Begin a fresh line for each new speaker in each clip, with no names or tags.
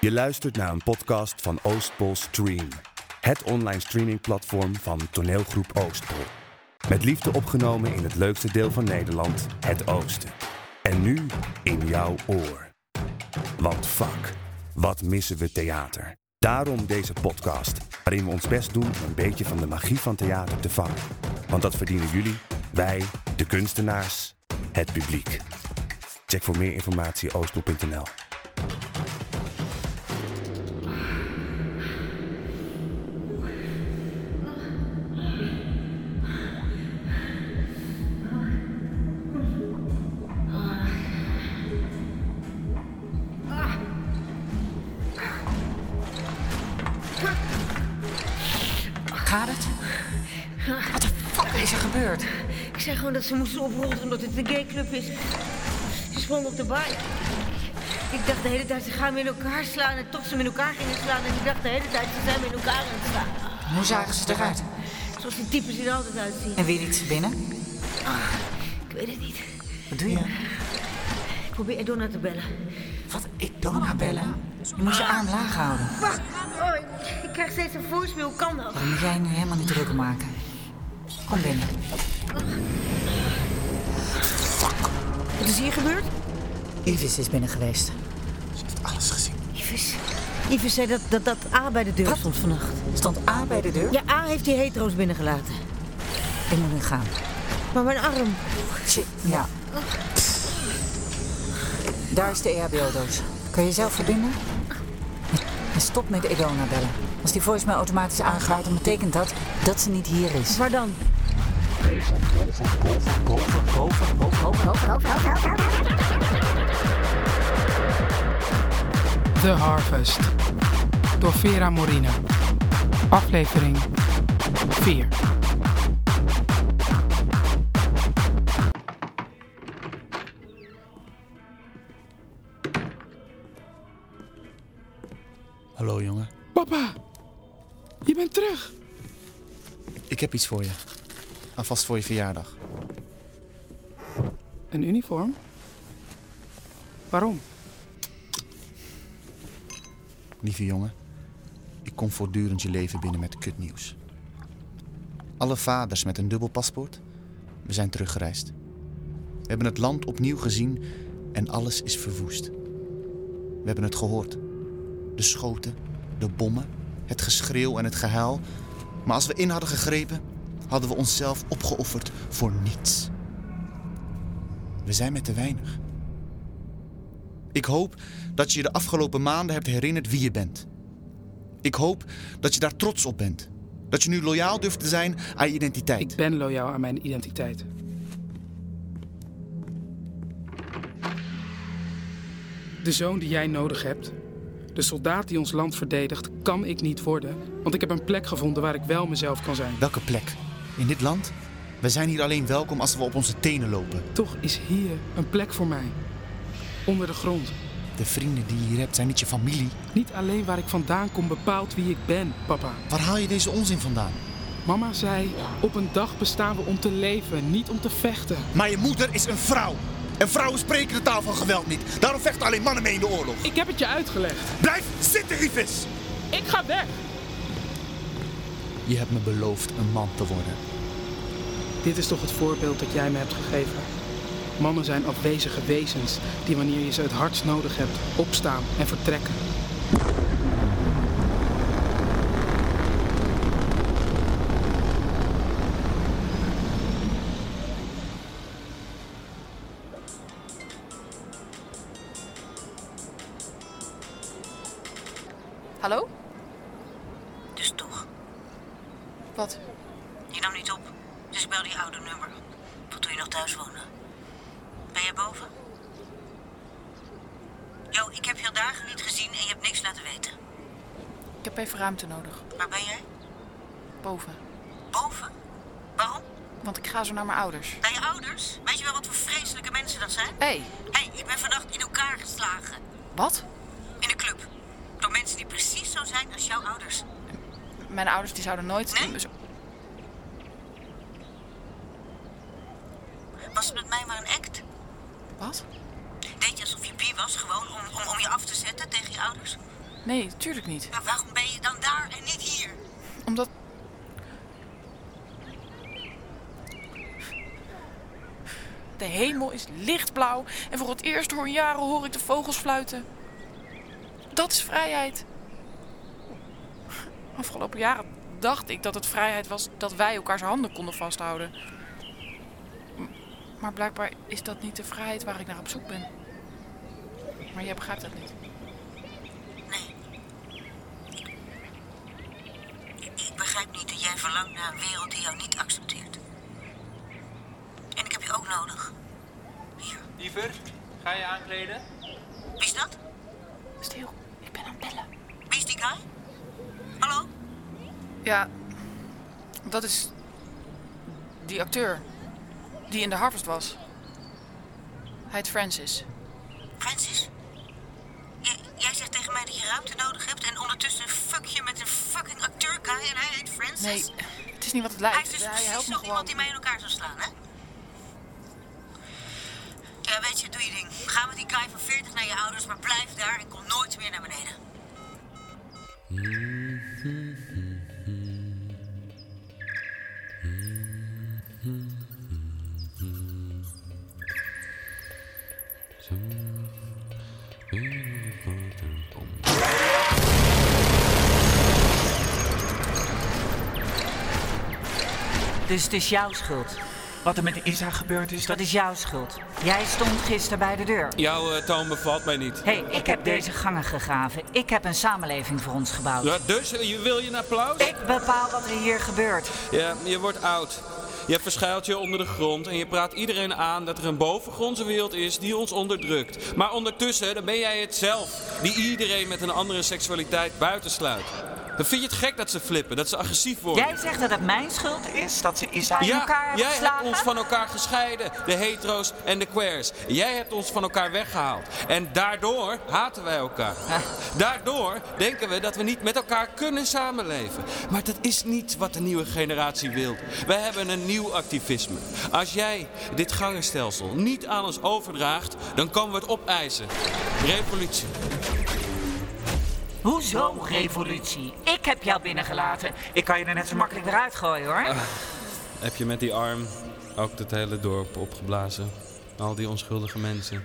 Je luistert naar een podcast van Oostpol Stream. Het online streamingplatform van toneelgroep Oostpol. Met liefde opgenomen in het leukste deel van Nederland, het Oosten. En nu in jouw oor. Want fuck, wat missen we theater. Daarom deze podcast, waarin we ons best doen om een beetje van de magie van theater te vangen. Want dat verdienen jullie, wij, de kunstenaars, het publiek. Check voor meer informatie oostpol.nl.
Gaat het? Wat de fuck is er gebeurd?
Ik zei gewoon dat ze moesten oprollen omdat het een gayclub is. Ze sprong op de bar. Ik dacht de hele tijd, ze gaan me in elkaar slaan. En toch ze me in elkaar gingen slaan. En ik dacht de hele tijd, ze zijn me in elkaar aan het slaan.
Hoe zagen ze eruit?
Zoals die types er altijd uitzien.
En weer liet ze binnen?
Ik weet het niet.
Wat doe je?
Ik probeer Edonna te bellen.
Wat? Ik Donna bellen? Je moet je arm laag houden.
Fuck! Oh, ik, ik krijg steeds een voicemail. Kan dat?
Dan moet jij nu helemaal niet druk om maken. Kom binnen.
Wat is hier gebeurd?
Ivis is binnen geweest.
Yves. Yves zei dat, dat, dat A bij de deur
Wat?
stond vannacht.
Stond A bij de deur?
Ja, A heeft die hetero's binnengelaten.
Ik moet nu gaan.
Maar mijn arm.
Shit. Ja. Daar is de E EHBO-doos. Kun je zelf verbinden? En stop met Edona bellen. Als die voicemail automatisch aangaat, dan betekent dat dat ze niet hier is.
Waar dan?
The Harvest door Vera Morina. Aflevering 4.
Hallo jongen.
Papa, je bent terug.
Ik heb iets voor je. Alvast voor je verjaardag.
Een uniform? Waarom?
Lieve jongen, ik kom voortdurend je leven binnen met kutnieuws. Alle vaders met een dubbel paspoort, we zijn teruggereisd. We hebben het land opnieuw gezien en alles is verwoest. We hebben het gehoord. De schoten, de bommen, het geschreeuw en het gehuil. Maar als we in hadden gegrepen, hadden we onszelf opgeofferd voor niets. We zijn met te weinig. Ik hoop dat je je de afgelopen maanden hebt herinnerd wie je bent. Ik hoop dat je daar trots op bent. Dat je nu loyaal durft te zijn aan je identiteit.
Ik ben loyaal aan mijn identiteit. De zoon die jij nodig hebt, de soldaat die ons land verdedigt, kan ik niet worden. Want ik heb een plek gevonden waar ik wel mezelf kan zijn.
Welke plek? In dit land? We zijn hier alleen welkom als we op onze tenen lopen.
Toch is hier een plek voor mij. Onder de grond.
De vrienden die je hier hebt zijn niet je familie.
Niet alleen waar ik vandaan kom bepaalt wie ik ben, papa.
Waar haal je deze onzin vandaan?
Mama zei, op een dag bestaan we om te leven, niet om te vechten.
Maar je moeder is een vrouw. En vrouwen spreken de taal van geweld niet. Daarom vechten alleen mannen mee in de oorlog.
Ik heb het je uitgelegd.
Blijf zitten, Rivis!
Ik ga weg.
Je hebt me beloofd een man te worden.
Dit is toch het voorbeeld dat jij me hebt gegeven. Mannen zijn afwezige wezens die wanneer je ze het hardst nodig hebt, opstaan en vertrekken.
Hallo?
Dus toch.
Wat?
Je nam niet op, dus ik belde je oude nummer. Van toen je nog thuis woonde. Ben jij boven? Jo, ik heb je al dagen niet gezien en je hebt niks laten weten.
Ik heb even ruimte nodig.
Waar ben jij?
Boven.
Boven? Waarom?
Want ik ga zo naar mijn ouders.
Bij je ouders? Weet je wel wat voor vreselijke mensen dat zijn?
Hé, hey,
Hé, hey, ik ben vannacht in elkaar geslagen.
wat?
In een club. Door mensen die precies zo zijn als jouw ouders.
Mijn ouders die zouden nooit...
Nee?
Zo-
Was het met mij maar een act?
Wat?
Deed je alsof je bi was, gewoon om, om, om je af te zetten tegen je ouders?
Nee, tuurlijk niet.
Maar waarom ben je dan daar en niet hier?
Omdat. De hemel is lichtblauw en voor het eerst hoor jaren hoor ik de vogels fluiten. Dat is vrijheid. Afgelopen jaren dacht ik dat het vrijheid was dat wij elkaars handen konden vasthouden. M- Maar blijkbaar is dat niet de vrijheid waar ik naar op zoek ben. Maar jij begrijpt dat niet.
Nee. Ik, ik begrijp niet dat jij verlangt naar een wereld die jou niet accepteert. En ik heb je ook nodig. Hier.
Diever, ga je aankleden?
Wie is dat?
Stil, ik ben aan het bellen.
Wie is die guy? Hallo?
Ja, dat is die acteur die in de Harvest was. Hij heet Francis.
Francis? Jij, jij zegt tegen mij dat je ruimte nodig hebt en ondertussen fuck je met een fucking acteur guy en hij heet Francis?
Nee, het is niet wat het
Hij is dus
lijkt. Hij
precies
helpt me
zo
gewoon.
iemand die mij in elkaar zou slaan, hè? Ja, weet je, doe je ding. Ga met die guy van 40 naar je ouders, maar blijf daar en kom nooit meer naar beneden.
Dus het is jouw schuld.
Wat er met Isa gebeurd is,
Dat is jouw schuld. Jij stond gisteren bij de deur.
Jouw eh, toon bevalt mij niet.
Hé, hey, ik heb deze gangen gegraven. Ik heb een samenleving voor ons gebouwd.
Ja, dus, eh, je wil je een applaus?
Ik bepaal wat er hier gebeurt.
Ja, je wordt oud. Je verschuilt je onder de grond en je praat iedereen aan dat er een bovengrondse wereld is die ons onderdrukt. Maar ondertussen, dan ben jij het zelf die iedereen met een andere seksualiteit buitensluit. Dan vind je het gek dat ze flippen, dat ze agressief worden.
Jij zegt dat het mijn schuld is dat ze is aan
ja,
elkaar
jij
geslagen?
hebt ons van elkaar gescheiden, de hetero's en de queers. Jij hebt ons van elkaar weggehaald. En daardoor haten wij elkaar. Daardoor denken we dat we niet met elkaar kunnen samenleven. Maar dat is niet wat de nieuwe generatie wil. Wij hebben een nieuw activisme. Als jij dit gangenstelsel niet aan ons overdraagt, dan komen we het opeisen. Revolutie.
Hoezo revolutie? Ik heb jou binnengelaten. Ik kan je er net zo makkelijk weer uitgooien hoor.
Heb je met die arm ook het hele dorp opgeblazen? Al die onschuldige mensen.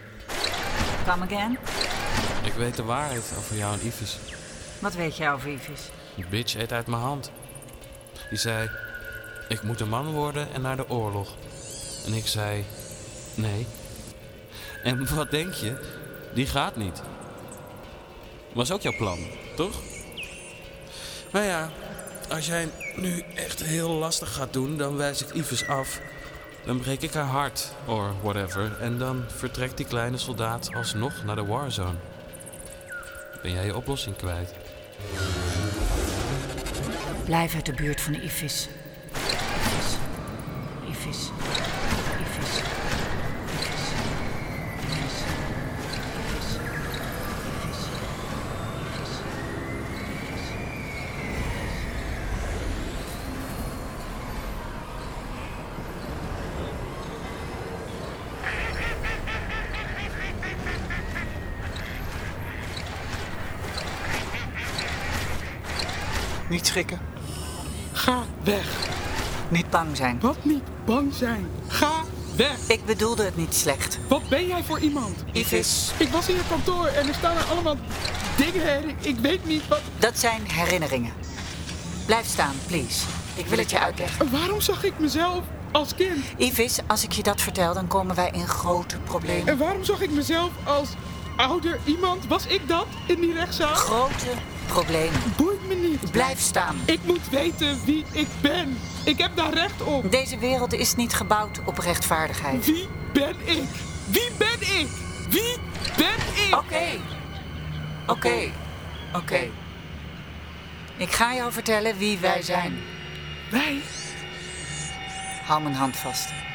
Come again?
Ik weet de waarheid over jou en Ivis.
Wat weet jij over Ivis?
Die bitch eet uit mijn hand. Die zei: Ik moet een man worden en naar de oorlog. En ik zei: Nee. En wat denk je? Die gaat niet. Was ook jouw plan, toch? Nou ja, als jij nu echt heel lastig gaat doen, dan wijs ik Ives af. Dan breek ik haar hart, or whatever. En dan vertrekt die kleine soldaat alsnog naar de warzone. Ben jij je oplossing kwijt?
Blijf uit de buurt van Ivis. Ivis. Ivis. Ivis. Ivis. Ivis. Ivis. Ivis. Ivis.
Niet schrikken. Ga weg.
Niet bang zijn.
Wat niet bang zijn. Ga weg.
Ik bedoelde het niet slecht.
Wat ben jij voor iemand?
Ivis.
Ik was in je kantoor en er staan er allemaal dingen en ik, ik weet niet wat...
Dat zijn herinneringen. Blijf staan, please. Ik wil het je uitleggen.
Waarom zag ik mezelf als kind?
Ivis, als ik je dat vertel, dan komen wij in grote problemen.
En waarom zag ik mezelf als ouder iemand? Was ik dat in die rechtszaal?
Grote problemen.
Boeit me niet.
Blijf staan.
Ik moet weten wie ik ben. Ik heb daar recht op.
Deze wereld is niet gebouwd op rechtvaardigheid.
Wie ben ik? Wie ben ik? Wie ben ik?
Oké. Oké. Ik ga jou vertellen wie wij zijn.
Wij
Hou mijn hand vast.